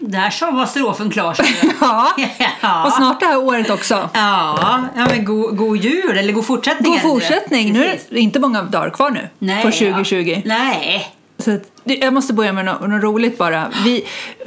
där så var strofen klar. sa du. Ja. Ja. Och snart det här året också. Ja, ja men god, god jul, eller god fortsättning. God är det inte? fortsättning. Nu är Precis. det inte många dagar kvar nu Nej, på 2020. Ja. Nej. Så att, det- jag måste börja med något, något roligt bara. Vi,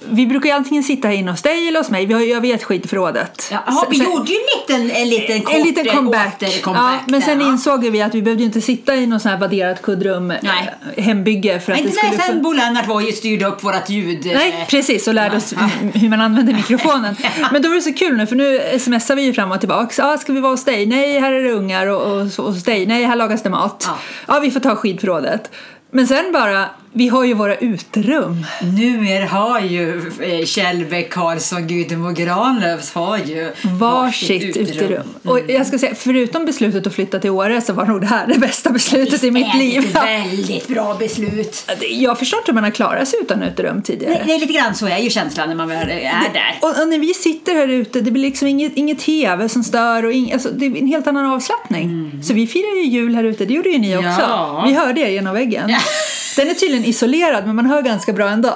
vi brukar ju antingen sitta här inne hos dig eller hos mig. Vi har ju Jag vet skitförrådet. Ja, aha, vi Sen- gjorde ju en liten, en liten, kort, eh, en liten comeback. åter- comeback ja, men där, sen va? insåg ju vi att vi behövde ju inte sitta i någon sån här vadderat kuddrum, eh, Nej. hembygge för Men att det inte skulle när sen fun- Bo Lennart var ju styrde upp vårat ljud. eh, Nej, precis. Och lärde oss hur- hur man använder mikrofonen. Men då var det så kul nu, för nu smsar vi ju fram och tillbaka. Ah, ska vi vara hos dig? Nej, här är det ungar. Och, och, och hos dig? Nej, här lagas det mat. Ja, Ja. vi får ta skidförrådet. Men sen bara, vi har ju våra uterum. Numer har ju eh, Kjell Bäck Karlsson, Gudemo Granlöfs har ju Varsitt uterum. Mm. Och jag ska säga, förutom beslutet att flytta till Åre så var nog det här det bästa beslutet i mitt Det är liv. ett väldigt bra beslut. Jag förstår inte hur man har klarat sig utan uterum tidigare. Det, det är lite grann så är ju känslan när man väl är där. Och, och när vi sitter här ute, det blir liksom inget, inget tv som stör och ing, alltså, det är en helt annan avslappning. Så vi firar ju jul här ute, det gjorde ju ni också. Mm. Ja. Vi hörde er genom väggen. Ja. Den är tydligen isolerad men man hör ganska bra ändå.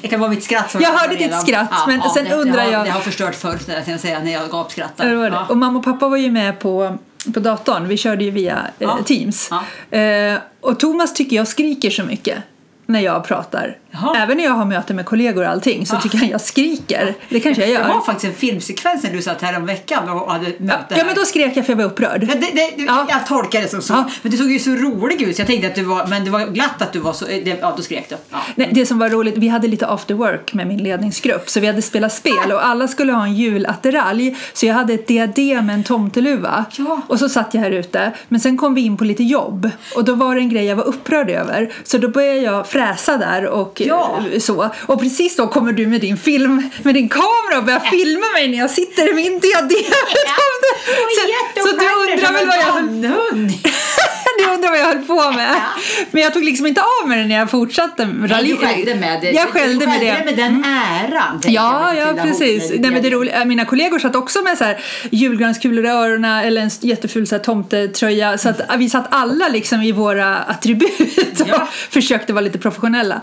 Det kan vara mitt skratt. som Jag kommer hörde ditt igenom. skratt, men sen det, undrar det har, jag- Det har förstört förr, så jag kan säga, när jag gapskrattar. Eller vad var det? Och mamma och pappa var ju med på, på datorn, vi körde ju via eh, Ja. Teams. Ja. Eh, och Thomas tycker jag skriker så mycket när jag pratar. Jaha. Även när jag har möten med kollegor och allting så tycker han jag skriker. Det kanske jag gör. Det var faktiskt en filmsekvens när du satt här om veckan och hade möte ja, här. men då skrek jag för jag var upprörd. Ja, det, det, det, Ja. Jag tolkar det som så. Ja. Men du såg ju så rolig ut så jag tänkte att du var, men det var glatt att du var så, det, ja då skrek du. Ja. Nej, det som var roligt, vi hade lite after work med min ledningsgrupp så vi hade spelat spel och alla skulle ha en julattiralj så jag hade ett diadem med en tomteluva Ja. och så satt jag här ute men sen kom vi in på lite jobb och då var det en grej jag var upprörd över så då började jag fräsa där och eh, Ja. så och precis då kommer du med din film med din kamera och börjar filma mig när jag sitter i min diadem med tomte. så, så du undrar väl vad jag jag... du undrar vad jag höll på med. Men jag tog liksom inte av mig den när jag fortsatte Nej, rally- du skällde med det. Jag skällde du med det. Mm. med den äran. tänker Ja, jag, ja Matilda precis. Hofner. Nej, men det roliga, mina kollegor satt också med så här, julgranskulor i öronen eller en jätteful så här, tomtetröja. Så att, vi satt alla liksom i våra attribut och Ja. försökte vara lite professionella.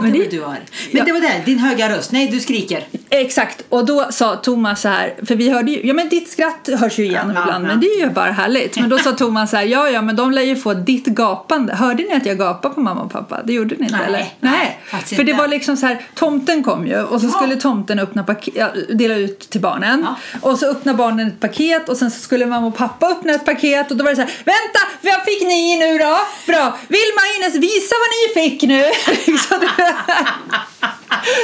Men Det det, var du har. Men Ja. det var där, din höga röst. Nej, du skriker. exakt, och då sa Thomas så här, för vi hörde ju, ja men ditt skratt hörs ju igen Ja, ibland ja. men det är ju bara härligt. Men då sa Thomas så här, ja ja men de lär ju få ditt gapande. Hörde ni att jag gapade på mamma och pappa? Det gjorde ni inte Nej, eller? nej, faktiskt för det inte. var liksom så här, tomten kom ju och så Ja. skulle tomten öppna pak- ja, dela ut till barnen. Och så öppnade barnen ett paket och sen så skulle mamma och pappa öppna ett paket och då var det så här, vänta, vad fick ni nu då? Bra, Vilma och Ines, visa vad ni fick nu! Liksom det-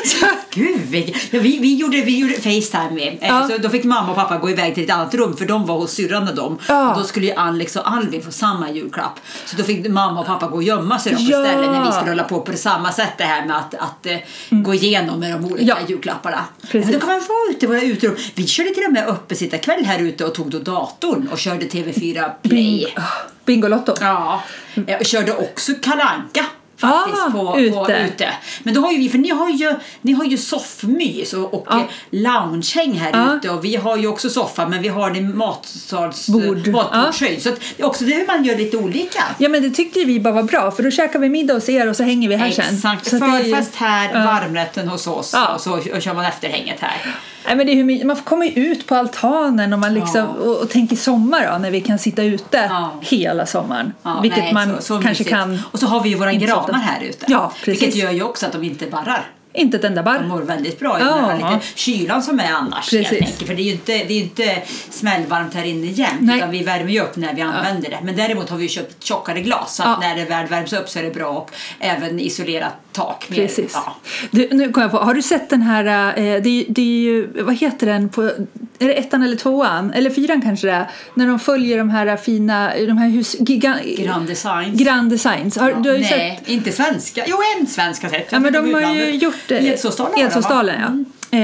så, Gud, vilken- ja, vi, vi, gjorde, vi gjorde Facetime. eh, Ja. Så då fick mamma och pappa gå iväg till ett annat rum för de var hos syrran och dem. Ja. Och då skulle ju Alex och Alvin få samma julklapp. Så då fick mamma och pappa gå och gömma sig då på Ja. stället när vi skulle hålla på på samma sätt det här med att, att eh, gå igenom med de olika Mm. Ja. julklapparna. Precis. Men då kan man vara ute i våra uterum. Vi körde till och med öppesittarkväll här ute och tog då datorn och körde TV4 Play. Ah, Bingolotto. Ja, jag körde också kalanka faktiskt Ah, på, på ute. ute. Men då har ju vi, för ni har ju, ni har ju soffmys och, och Ja. eh, loungehäng här Ja. ute och vi har ju också soffa men vi har det i matsals, Bord. matbordshöjd. Så att, det är också det hur man gör lite olika. Ja men det tyckte ju vi bara var bra för då käkar vi middag hos er och så hänger vi här sen. Exakt, Så att det är ju- förfest här, Ja. varmrätten hos oss Ja. och så och kör man efterhänget här. Nej, men det är hur, my- man kommer ju ut på altanen och, man liksom, Ja. och, och tänker sommar då, när vi kan sitta ute Ja. hela sommaren. Ja, vilket nej, man så- så kanske mysigt. kan, Och så har vi ju våra inte så granar ofta. här ute. Ja, precis. Vilket gör ju också att de inte barrar. inte ett enda De barr. mår väldigt bra i Ja. den här lite kylan som är annars. helt Precis. enkelt. För det är ju inte, det är ju inte smällvarmt här inne jämt Nej. utan vi värmer ju upp när vi använder det. Men däremot har vi ju köpt tjockare glas så att Ja. när det väl värms upp så är det bra och även isolerat tak. med- Precis. Ja. Du, nu kom jag på, har du sett den här, eh, det, är ju- det är ju, vad heter den, på, är det ettan eller tvåan? Eller fyran kanske det är? När de följer de här fina, de här hus, giga, Grand design. Grand Designs. Har, du har ju sett Nej, inte svenska. Jo, en svensk har sett. Ja, men de har ju gjort eh, Edsåsdalen. har de, va? Mm. Edsåsdalen, ja. Eh,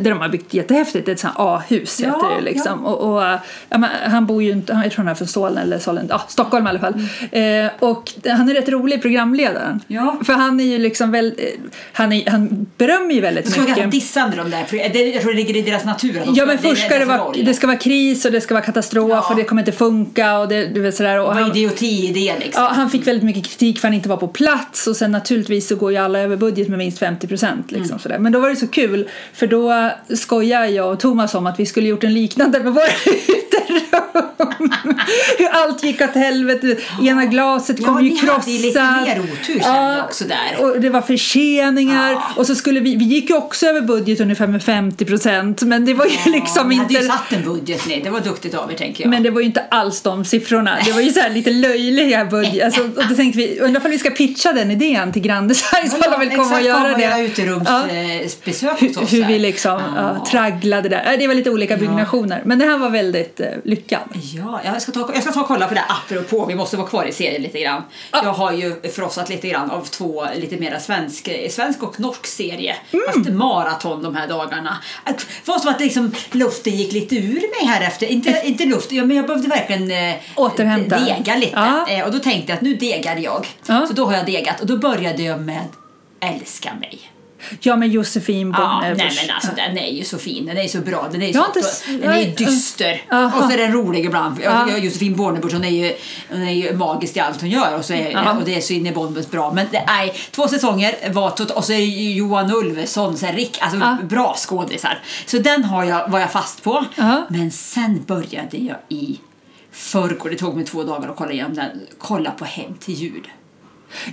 där de har byggt jättehäftigt, ett sånt här A-hus Ja, heter det liksom. Och, och, eh, ja, men han bor ju inte, han- jag tror han är från Solna eller Solna, ah, Stockholm i alla fall. Eh, och han är rätt rolig programledaren. Mm. Ja. För han är ju liksom väl, eh, han, är, han berömmer ju väldigt Jag tror att mycket. han dissade de där, för det, jag tror det ligger i deras natur. Att de Ja men det är först ska rädda det, för vara, roll. det ska vara kris och det ska vara katastrof Ja. och det kommer inte funka och det, du vet sådär. Och Vad han, idioti i det liksom. ja, han fick väldigt mycket kritik för att han inte var på plats och sen naturligtvis så går ju alla över budget med minst 50 procent liksom Mm. sådär. Men då var det så kul för då skojar jag och Thomas om att vi skulle gjort en liknande med våra uterum. Hur allt gick åt helvete, ena glaset Ja, kom ju ni hade ju lite krossat. mer otur kände jag också där. Och det var förseningar Ja. och så skulle vi, vi gick ju också över budget ungefär med 50 procent men det var ju liksom ni hade inte... ju satt en budget, nej. Det var duktigt av er tänker jag. Men det var ju inte alls de siffrorna. Det var ju så här lite löjliga budget. Alltså, och då tänkte vi, undrar om vi ska pitcha den idén till Grand Design ifall de vill komma och göra det. Ja. uterumsbesök eh, hos oss. Hur här. vi liksom Ja. ja, tragglade där. Ja, Det var lite olika byggnationer. Men det här var väldigt eh, lyckat. Ja, jag ska, ta, jag ska ta och kolla på det här apropå, vi måste vara kvar i serien lite grann. Jag har ju frossat lite grann av två lite mera svensk, svensk och norsk serie. Mm. Haft maraton de här dagarna. Att- Det var som att liksom luften gick lite ur mig här efter. Inte, inte luft, ja, men jag behövde verkligen eh, Återhämta. dega lite. Ja. Eh, och då tänkte jag att nu degar jag. Ja. Så då har jag degat och då började jag med Älska mig. Ja, men Josefin Ja, nej Bonnebusch. men alltså den är ju så fin, den är ju så bra, den är ju, Jag så, har inte s- den är ju jag- dyster. Aha. Och så är den rolig ibland. Jag Ja. tycker Josefin Bornebusch hon är, ju, hon är ju magisk i allt hon gör och, så Ja. är, och det är så in i bomben bra. Men det, nej, två säsonger var tot- och så är ju Johan Ulveson, så här, Rick, alltså Ja. bra skådisar. Så den har jag, var jag fast på. Ja. Men sen började jag i förrgår, det tog mig två dagar att kolla igenom den, kolla på Hem till jul.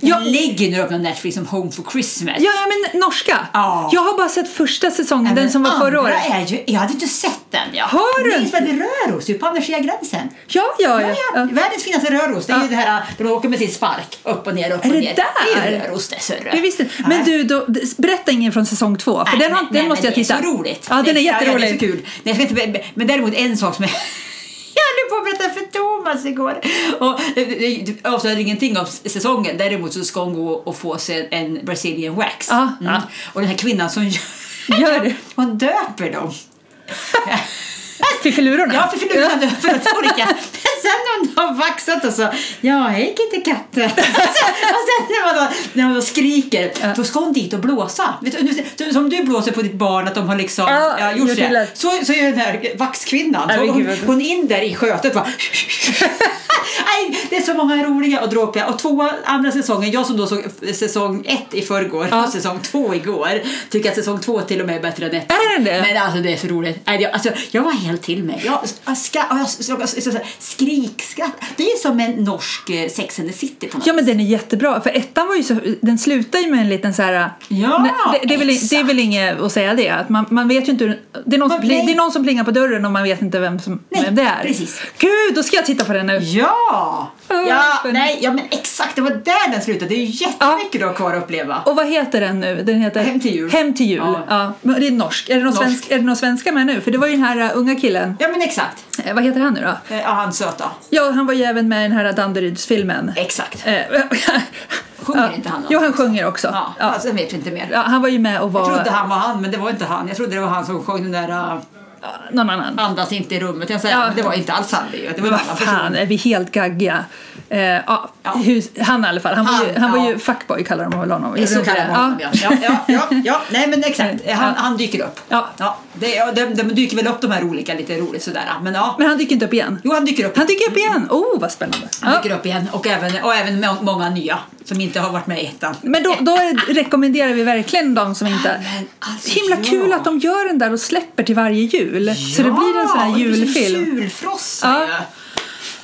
Den Ja. ligger nu upp på Netflix som Home for Christmas. Ja, ja, men norska. Ja. Jag har bara sett första säsongen, Nej, den men som var förra andra året. Är ju, jag hade inte sett den. Ja. Har du Minns att vi rör oss ju på andra sidan gränsen. Ja, ja, Ja, ja. ja. ja. Världens finaste röros. Det är Ja. ju det här där de åker med sin spark upp och ner, upp Är och det ner. Det är ju där? röros det, sörre. Jag visste inte. Men Nej. du, då, berätta ingen från säsong två, för Nej, den, har, men- den nej, men måste jag titta. Det är så roligt. Ja, den är Det- Ja, det jätterolig. är så kul. Nej, jag ska inte, be- be- men däremot en sak som jag jag höll på att berätta för Thomas igår. Och eh, det- det avslöjade ingenting om säsongen. Däremot så ska hon gå och få sig en Brazilian wax. Mm. Ja, ja. Och den här kvinnan som gör, Gör det. hon döper dem. Fiffilurorna? Ja, för förlorade ja. förlorade Sen när hon har vaxat och så, ja hej Kittekatten. Och sen, och sen när, man då, när man då skriker, då ska hon dit och blåsa. Vet du, du, som du blåser på ditt barn att de har liksom Ja, ja, gjort gjort det. illa. Så, så är den här vaxkvinnan, Nej, så men hon, gud, vad- hon in där i skötet va. Nej, det är så många roliga och dråpliga. Och två andra säsongen, jag som då såg säsong ett i förrgår Ja. och säsong två igår, tycker att säsong två till och med är bättre än ett. Är den det? Men alltså det är så roligt. Nej, jag- Alltså, jag var helt till mig. Jag, jag, ska, jag, jag, jag, jag, jag skrikskratt. Det är som en norsk eh, Sex and the City på något Ja men den är jättebra, för ettan var ju så, den slutar ju med en liten så här... Ja, Nej, det, det, är väl, exakt. det är väl inget att säga det, att man, man vet ju inte hur, det, är någon som, Man- pling- nej. det är någon som plingar på dörren och man vet inte vem, som, Nej, vem det är. precis. Gud, då ska jag titta på den nu! Ja! Ja, Ja, spännande. nej, ja, men exakt. Det var där den slutade. Det är ju jättemycket du har kvar att uppleva. Och vad heter den nu? Den heter Hem till jul. Hem till jul. Ja. Ja. Men det är norsk. Är det, någon Norsk. Svensk, är det någon svenska med nu? För det var ju den här uh, unga killen. Ja, men exakt. Eh, vad heter han nu då? Eh, Ja, han söta. Ja, han var ju även med i den här uh, Danderyds-filmen. Exakt. Eh, Sjunger ja. inte han då? Jo, han sjunger också. Ja, Ja. Alltså, jag vet inte mer. Ja, han var ju med och var Jag trodde han var han, men det var inte han. Jag trodde det var han som sjöng den där eh, Ja, någon annan. Andas inte i rummet. Jag säger, Ja. men det var inte alls han. Det, är ju- det var en Vad annan person. fan, är vi helt gaggiga? Eh, ja, hur, han i alla fall. Han, var ju, Han, han var ja. ju fuckboy kallar de väl honom. Så kallar man honom, ja. Ja, ja, ja, ja. Nej, men exakt. Ja. Han, han dyker upp. Ja. Ja, det, ja, de, de dyker väl upp de här olika lite roligt sådär. Men ja, Men han dyker inte upp igen. jo, han dyker upp. Han dyker upp igen! Oh, vad spännande. Mm. Han Ja. dyker upp igen och även, och även må- många nya som inte har varit med i ettan. Men då, då är- rekommenderar vi verkligen de som inte... Men alltså, Himla kul ja. att de gör den där och släpper till varje jul. Så det Ja, blir en sån här Det blir som julfilm. julfrossa Ja. ju.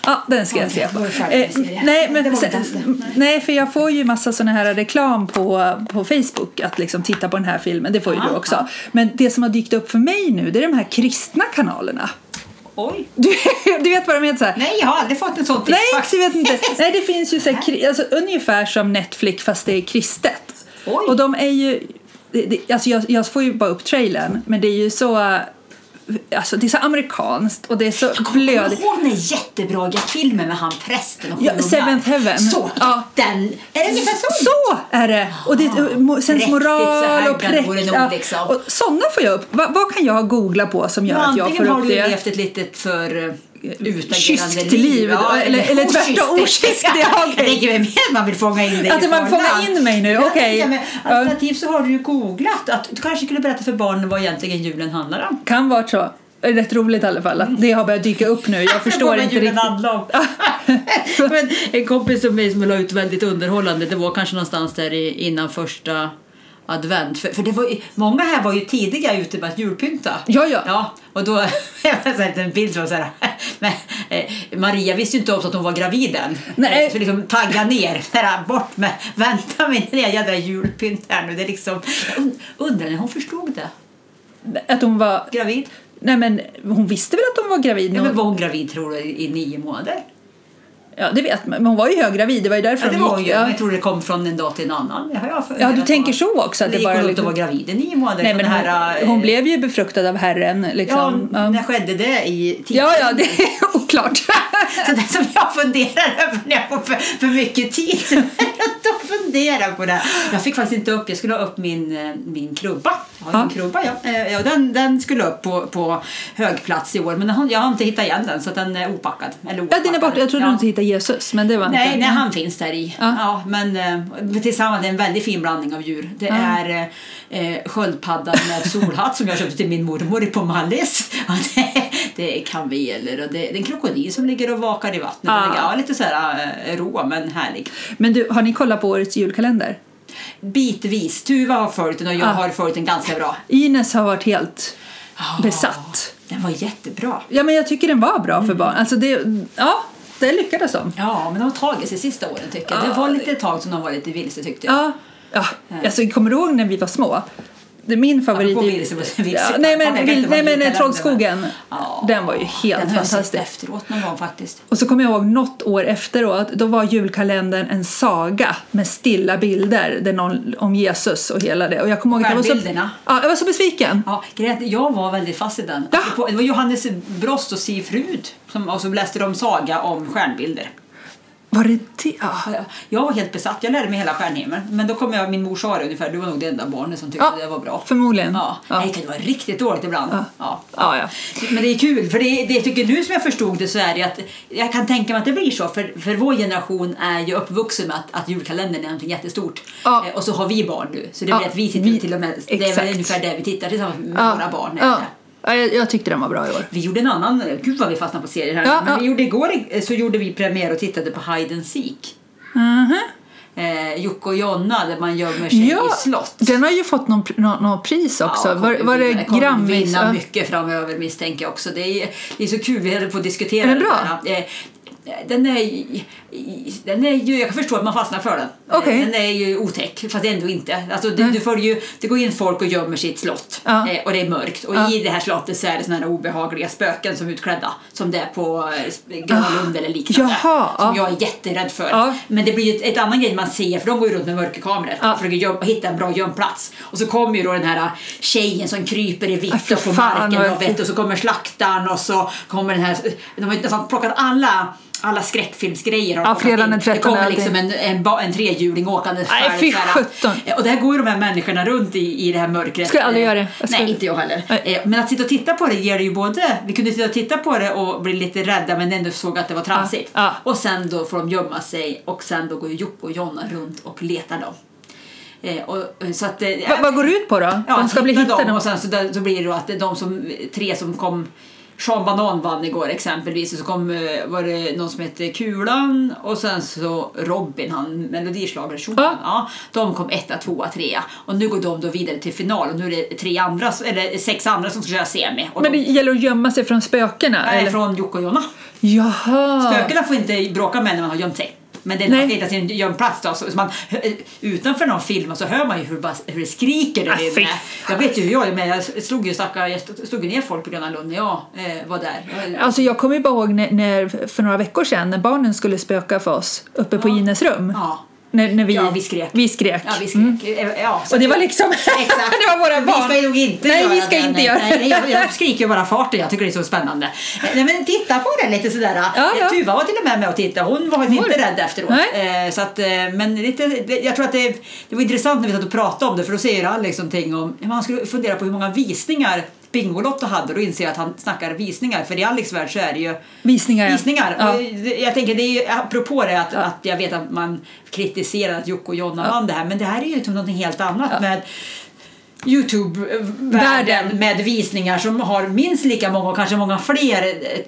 Ja, den ska jag Okej, se då på. är det färdig med serien. nej, Det men var sen, inte ens det. nej, för jag får ju massa såna här reklam på, på Facebook att liksom titta på den här filmen. Det får ju Ja, du också. Men det som har dykt upp för mig nu det är de här kristna kanalerna. Oj. Du, du vet vad de heter? Så här. Nej, jag har aldrig fått en sån tips Nej, faktiskt. du vet inte. Nej, det finns ju så här, kri- alltså, ungefär som Netflix fast det är kristet. Oj. Och de är ju, det, det, alltså jag, jag får ju bara upp trailern, men det är ju så äh, alltså det är så amerikanskt och det är så Blöd. blödigt. Hon är jättebra i filmen med han prästen och Ja, sjöjungfruar. Seventh Heaven. Så! Ja. Den, är det ungefär så? Så är det! Och det är mo- präktigt, så här sensmoral och kan det vore präkt. nog, ja. liksom. Och sådana får jag upp. Va, vad kan jag googla på som gör att jag får Antingen har upp du det? levt ett litet för eh, utagerande Kyskt liv, Ja, eller- eller tvärtom, okyskt, ja, okej. Jag tänker mig mer man vill fånga in dig Att i man fållan. fångar in mig nu, Ja, okej. tänker jag mig. Ja. Alternativt så har du ju googlat att du kanske skulle berätta för barnen vad egentligen julen handlar om. Kan vara så. Rätt roligt i alla fall. att Det har börjat dyka upp nu. Jag förstår Vad inte julen riktigt. handlar om. Men en kompis som mig som la ut väldigt underhållande, det var kanske någonstans där i, innan första advent. För, för det var, ju- många här var ju tidiga ute med att julpynta. Ja, ja. Ja, och då jag har sett en bild som så här, men, eh, Maria visste ju inte om att hon var gravid än. Nej. Eh, Så liksom tagga ner, där, bort med, vänta med den där jädra julpynt här nu. Det är liksom, jag und- undrar när hon förstod det. Att hon var... Gravid? Nej men hon visste väl att hon var gravid? Ja, Ja, men var hon gravid tror du i i nio månader? ja det vet man. Men hon var ju höggravid. Det var ju därför Ja, det hon var hon ju. ja. Men jag tror det kom från en dag till en annan. Det har jag Ja, funderat du på. tänker så också. Att Det det gick bara hon runt och liksom- var gravid i nio månader. Nej, för men den här, hon, eh, hon blev ju befruktad av Herren. Liksom. Ja, när skedde det i tiden? ja, ja, det är oklart. Så det som jag funderar över när jag får för, för mycket tid. Så jag funderar på det. här. Jag fick faktiskt inte upp, jag skulle ha upp min, eh, min klubba. Jag har Ja. en krubba, ja. Eh, ja den, den skulle upp på, på högplats i år, men den har- jag har inte hittat igen den så att den är opackad. Eller ja, den är borta. Jag trodde ja. du inte hittade Jesus, men det var Nej, inte. nej, han finns där i. Ja. Ja. men eh, tillsammans det är en väldigt fin blandning av djur. Det är eh, eh, sköldpaddan med solhatt som jag köpte till min mormor på Mallis. Ja, det, det är kameler och det, det är en krokodil som ligger och vakar i vattnet. Ah. Ah. Ja, lite så här eh, rå men härlig. Men du, har ni kollat på årets julkalender? Bitvis. Tuva har följt den och jag Ah. har följt den ganska bra. Ines har varit helt Ah. besatt. Den var jättebra. Ja, men jag tycker den var bra för barn. Alltså, det, ja, det lyckades de. Ja, men de har tagit sig sista åren tycker jag. Ah. Det var lite ett tag som de var lite vilse tyckte jag. Ja, ja. Alltså, kommer du ihåg när vi var små? Det är min favorit. Apropå i- Vilse och Vilse. Ja, nej, men, Jag vet vill, inte nej, vad men eh, julkalendern- Trollskogen. Ja. Den var ju Den helt har jag sett fantastisk. efteråt någon gång faktiskt. Och så kommer jag ihåg något år efteråt, då var julkalendern en saga med stilla bilder där någon, om Jesus och hela det. Och jag kommer ihåg att jag var så, Stjärnbilderna. ja, jag var så besviken. Ja, grejen är att jag var väldigt fast i den. Ja. Apropå- Det var Johannes Brost och Siv Frud som och så läste de saga om stjärnbilder. Var det det? Ja. Jag var helt besatt, jag lärde mig hela stjärnhimlen. Men då kom jag, min mor sa det ungefär, du var nog det enda barnet som tyckte Ja, det var bra. förmodligen. Ja. Ja. Nej, det var riktigt dåligt ibland. Ja. Ja. Ja, ja. Men det är kul, för det, det tycker nu som jag förstod det så är det att jag kan tänka mig att det blir så, för, för vår generation är ju uppvuxen med att, att julkalendern är någonting jättestort. Ja. Eh, Och så har vi barn nu, så det Ja, blir att vi tittar vi- till och med, det är exakt. väl ungefär det vi tittar tillsammans med våra barn. är Ja. det. Ja, jag, jag tyckte den var bra i år. Vi gjorde en annan, gud vad vi fastnar på serier här Ja, men ja. vi gjorde igår eh, så gjorde vi premiär och tittade på Hide and Seek. Mhm. Eh, Jocke och Jonna där man gömmer sig i slott. den har ju fått någon, pr- nå- någon pris också. Ja, var, kommer var det vinna- kommer Grammis? vinna Ja. mycket framöver misstänker jag också. Det är, det är så kul, vi höll på att diskutera Är den bra? där. Eh, Den är, i- i- den är ju, jag kan förstå att man fastnar för den. Okej. Eh, Den är ju otäck, fast ändå inte. Alltså, du, du får ju, det går in folk och gömmer sig i ett slott Ja. eh, och det är mörkt. Och Ja. i det här slottet så är det såna här obehagliga spöken som är utklädda. Som det är på eh, sp- Gröna Lund eller liknande. Ah. Jaha, som ja. jag är jätterädd för. Ja. Men det blir ju ett, ett annan grej man ser, för de går ju runt med mörkerkameror Ja. och försöker göm, hitta en bra gömplats. Och så kommer ju då den här äh, tjejen som kryper i Aj, vitt fy och på fan, vad marken och, vet, äckligt. och så kommer slaktaren och så kommer den här, de har ju nästan plockat alla alla skräckfilmsgrejer har Ja, de plockat fredagen in. den Det 13 kommer allting. liksom en, en, ba- en trehjuling åkande Nej, själv fy så här. sjutton. Eh, Och där går ju de här människorna runt i, i det här mörkret. Skulle aldrig göra det. Jag Nej, skulle- inte jag heller. Nej. Eh, Men att sitta och titta på det ger det ju både, vi kunde sitta och titta på det och bli lite rädda men ändå såg att det var tramsigt. Ja, ja. Och sen då får de gömma sig och sen då går ju Jocke och Jonna runt och letar dem. Eh, och, och så att, eh, Va, vad går det ut på då? Ja, de ska bli hitta dem hittade? och sen så, där, så blir det då att det är de som, tre som kom Sean Banan vann igår exempelvis och så kom, eh, var det någon som hette Kulan och sen så Robin, han melodislagare Ja. ja. ja, De kom etta, tvåa, trea och nu går de då vidare till final och nu är det tre andra, eller sex andra som ska köra semi. Och Men det de, gäller att gömma sig från spökena? nej, eller? från Jocke och Jonna. Jaha! Spökena får inte bråka med när man har gömt sig. Men det är när Nej. man ska hitta sin gömplats då, så så man, utanför någon film så hör man ju hur, bara, hur det skriker Ah, där fy inne. Jag vet ju hur jag är men jag slog ju stackar, jag slog ju ner folk på Gröna Lund när jag eh, var där. Jag- Alltså jag kommer ju bara ihåg när, när, för några veckor sedan när barnen skulle spöka för oss uppe på Ines rum. Ja. När, när vi, Ja, vi skrek. Vi skrek. Ja, vi skrek. Eh, Ja, så- Mm. Och det var liksom... Exakt. det var våra Vi ska ju barn. nog inte Nej, göra vi ska det. inte nej, göra nej, det. nej, jag, jag skriker ju bara farten. Jag tycker det är så spännande. Eh, Nej, men titta på den lite sådär. Eh, Ja, ja. Tuva var till och med med och tittade. Hon var inte det? rädd efteråt. Nej. Eh, Så att, eh, men lite, det- jag tror att det, det var intressant när vi satt och pratade om det för då säger han liksom ting om, ja, men han skulle fundera på hur många visningar Bingolotto hade och då inser jag att han snackar visningar för i Alex värld så är det ju Visningar, ja. visningar. Ja. Och det- Jag tänker det är ju, apropå det att, att jag vet att man kritiserar att Jocke och Jonna vann det här men det här är ju liksom någonting helt annat med Youtube-världen Världen. med visningar som har minst lika många och kanske många fler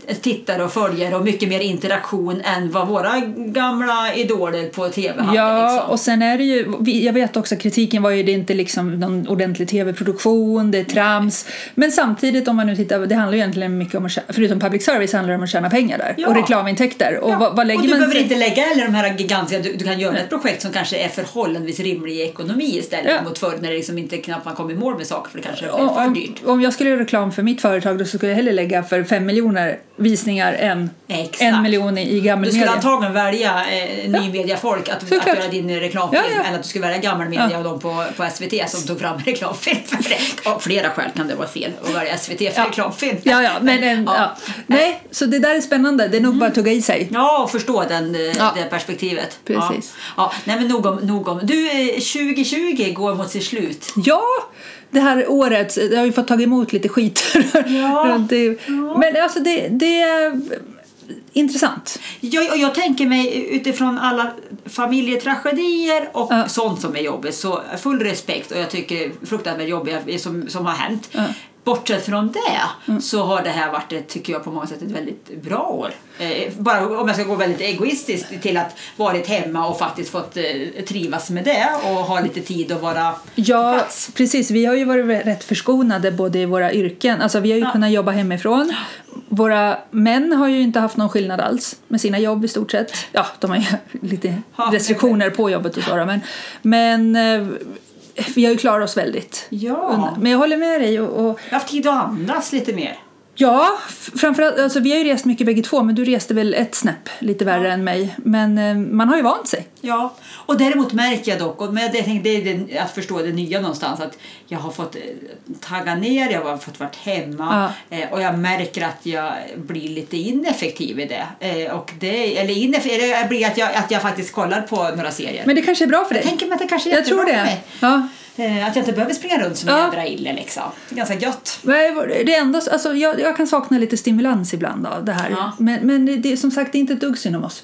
eh, tittare och följare och mycket mer interaktion än vad våra gamla idoler på tv hade. Ja, liksom. och sen är det ju, vi- jag vet också kritiken var ju det är inte liksom någon ordentlig tv-produktion, det är trams. Men samtidigt om man nu tittar, det handlar ju egentligen mycket om att tjäna, förutom public service handlar det om att tjäna pengar där Ja. och reklamintäkter. Och Ja, vad, vad lägger och du man behöver sig- inte lägga heller de här gigantiska, du, du kan göra ett projekt som kanske är förhållandevis rimlig i ekonomi istället Ja. mot förr när det liksom inte knappt man kom i mål med saker för det kanske är Om, för om, dyrt. om jag skulle göra reklam för mitt företag då skulle jag hellre lägga för fem miljoner visningar än Exakt. en miljon i, i gammal Du skulle media. antagligen välja eh, nymediafolk att, att Såklart. göra din reklamfilm Ja, ja. än att du skulle välja gammal media Ja. och de på, på SVT som tog fram reklamfilm för det. Av flera skäl kan det vara fel att välja SVT för Ja. reklamfilm. Ja, ja, men eh, en, ja. Nej, så det där är spännande. Det är nog bara att tugga i sig. Ja, och förstå den, eh, Ja. det perspektivet. Precis. Ja. Ja. Nej, men nog om, nog om. Du, eh, 2020 går mot sitt slut. Ja, det här året, jag har ju fått ta emot lite skit. Ja. runt det. Men alltså det, det är intressant. Jag, och jag tänker mig utifrån alla familjetragedier och Ja. sånt som är jobbigt, så full respekt och jag tycker fruktansvärt jobbiga som, som har hänt. Ja. Mm. Bortsett från det så har det här varit, ett, tycker jag, på många sätt ett väldigt bra år. Eh, bara om jag ska gå väldigt egoistiskt till att varit hemma och faktiskt fått eh, trivas med det och ha lite tid att vara på Ja, plats. precis. Vi har ju varit rätt förskonade både i våra yrken. Alltså vi har ju Ja. kunnat jobba hemifrån. Våra män har ju inte haft någon skillnad alls med sina jobb i stort sett. Ja, de har ju lite Ja, restriktioner på jobbet och sådär. Men, men eh, vi har ju klarat oss väldigt. Ja. Men jag håller med dig. Och, och Jag har haft tid att andas lite mer. Ja, f- framförallt, alltså, vi har ju rest mycket bägge två men du reste väl ett snäpp lite värre än mig. Men eh, man har ju vant sig. Ja, och däremot märker jag dock, och men jag tänkte, det är det, att förstå det nya någonstans, att jag har fått eh, tagga ner, jag har fått varit hemma eh, och jag märker att jag blir lite ineffektiv i det. Eh, och det eller ineffektiv, eller jag blir att jag, att jag faktiskt kollar på några serier. Men det kanske är bra för dig. jag tänker mig att det kanske är Jag tror jättebra för det. mig. Ja. Eh, Att jag inte behöver springa runt som en Ja. jädra ille liksom. Det är ganska gött. Men Det enda, alltså, jag, jag kan sakna lite stimulans ibland av det här. Ja. Men, men det, det, är som sagt, det är inte ett dugg synd om oss.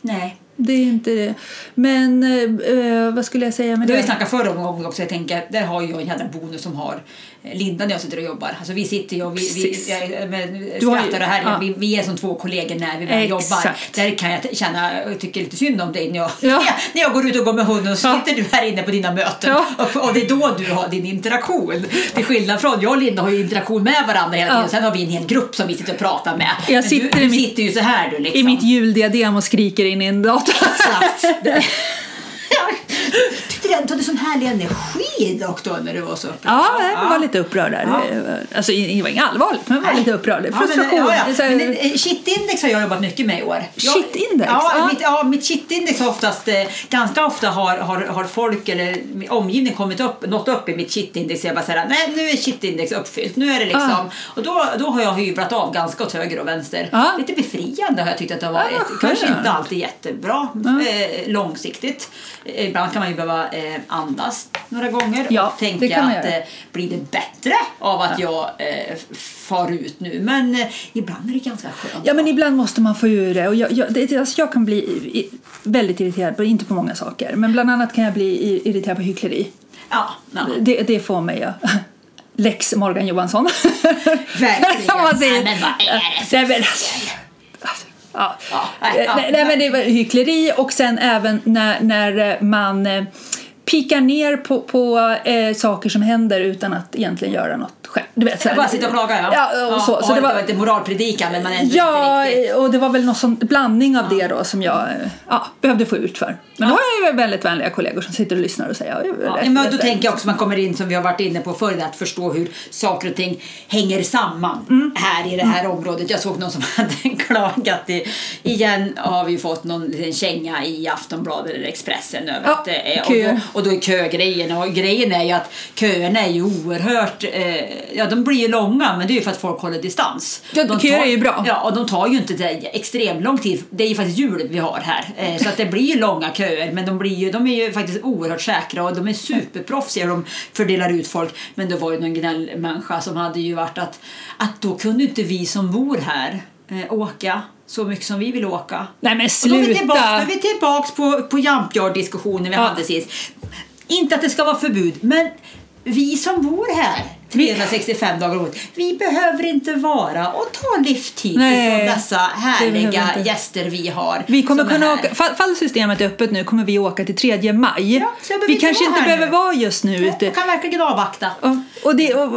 Nej. Det är inte det. Men eh, eh, vad skulle jag säga med Det har vi det? snackat förr om gång också. Jag tänker, där har jag en jädra bonus som har eh, Linda när jag sitter och jobbar. Alltså vi sitter ju och vi, vi Precis. jag, men, eh, Du har ju- skrattar och här. ja. Vi, vi är som två kollegor när vi väl Exakt. jobbar. Där kan jag t- känna, jag tycker lite synd om dig när jag, Ja. när jag går ut och går med hunden och så Ja. sitter du här inne på dina möten. Ja. Och, och det är då du har din interaktion. Till skillnad från, jag och Linda har ju interaktion med varandra hela Ja. tiden. Sen har vi en hel grupp som vi sitter och pratar med. Jag men sitter du, i du mitt- sitter ju så här du liksom. I mitt juldiadem och skriker in i en dator. Exakt. Jag tyckte den hade sån härlig energi dock då när du var så uppe. Ja, jag var lite upprörd där. Alltså, det var inget allvarligt, men jag var lite upprörd. Frustration. Ja, men, Det är så ja, här- ja. men, eh, shitindex har jag jobbat mycket med i år. Jag- Shitindex? Ja, Ja. Mitt, ja, mitt shitindex har oftast, eh, ganska ofta har, har, har folk eller min omgivning kommit upp, nått upp i mitt shitindex. Jag bara säger nej nu är shitindex uppfyllt. Nu är det liksom, Ah. och då, då har jag hyvlat av ganska åt höger och vänster. Ah. Lite befriande har jag tyckt att det har varit. vad skönt. Kanske inte alltid jättebra eh, långsiktigt. Eh, Ibland kan man ju behöva eh, andas några gånger Ja, och tänka det kan man att göra. eh, blir det bättre av att jag eh, far ut nu. Men eh, ibland är det ganska skönt. Ja, men ibland måste man få ur det. Och jag, jag, det alltså jag kan bli i- väldigt irriterad, på, inte på många saker, men bland annat kan jag bli i- irriterad på hyckleri. ja, ja. Det, det får mig att... Lex Morgan Johansson. Verkligen. Om man säger- Nej, men vad är det för Nej, men alltså- Ja. Ja, nej, nej, ja. nej, men det var hyckleri och sen även när, när man eh, pikar ner på, på eh, saker som händer utan att egentligen göra något själv. Du vet, så här- Bara sitta och klaga ja. Ja, och så, så det var, inte moralpredikan men man är ändå ja, inte riktigt. och det var väl någon sån blandning av det då som jag eh, ja, behövde få ut för. Men då har jag ju väldigt vänliga kollegor som sitter och lyssnar och säger ja, det är Ja, rätt, men rätt, då rätt. tänker jag också man kommer in som vi har varit inne på förr att förstå hur saker och ting hänger samman Mm. här i det här området. Jag såg någon som hade klagat i, igen har vi ju fått någon liten känga i Aftonbladet eller Expressen över Ja, att det är, och, köer. då, och då är kögrejen och grejen är ju att köerna är ju oerhört eh, ja de blir ju långa men det är ju för att folk håller distans. Ja, de köer tar- är ju bra. Ja, och de tar ju inte det extremt lång tid. Det är ju faktiskt jul vi har här. Eh, Så att det blir ju långa köer. Men de, blir ju, de är ju faktiskt oerhört säkra och de är superproffsiga. De fördelar ut folk. Men det var ju någon gnällmänniska som hade ju varit att, att då kunde inte vi som bor här eh, åka så mycket som vi vill åka. Nej men Och då är vi sluta! tillbaka, då är vi tillbaks på, på jumpyard-diskussionen vi Ja. hade sist. Inte att det ska vara förbud, men vi som bor här 365 dagar om året, vi behöver inte vara och ta livstid Nej, från dessa det härliga behöver vi inte. gäster vi har. Vi kommer som är kunna här. åka, fall, fall systemet är öppet nu kommer vi åka till 3 maj. Ja, så jag behöver vi inte kanske vara inte här behöver nu. vara just nu Ja, ute. Jag kan verkligen avvakta. Ja, Och det, och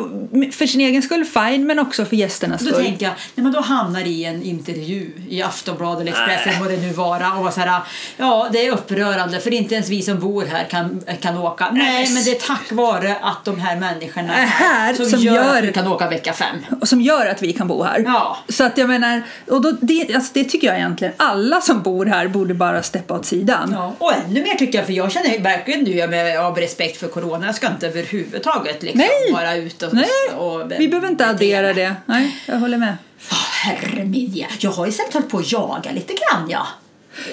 för sin egen skull fine men också för gästernas Då skull. tänker jag, när man då hamnar i en intervju i Aftonbladet eller Expressen, vad det nu vara, och var så här, ja det är upprörande för inte ens vi som bor här kan, kan åka. Nej, men- men det är tack vare att de här människorna Är här som att gör- vi kan åka vecka fem. och som gör att vi kan bo här. Ja. Så att jag menar, och då, det, alltså det tycker jag egentligen alla som bor här borde bara steppa åt sidan. Ja, och ännu mer tycker jag, för jag känner verkligen nu jag med, av respekt för corona, jag ska inte överhuvudtaget liksom Nej. vara ute och, Nej, och vi behöver inte addera det. Nej, jag håller med. Oh, herre min, ja. jag har istället hållit på att jaga lite grann ja.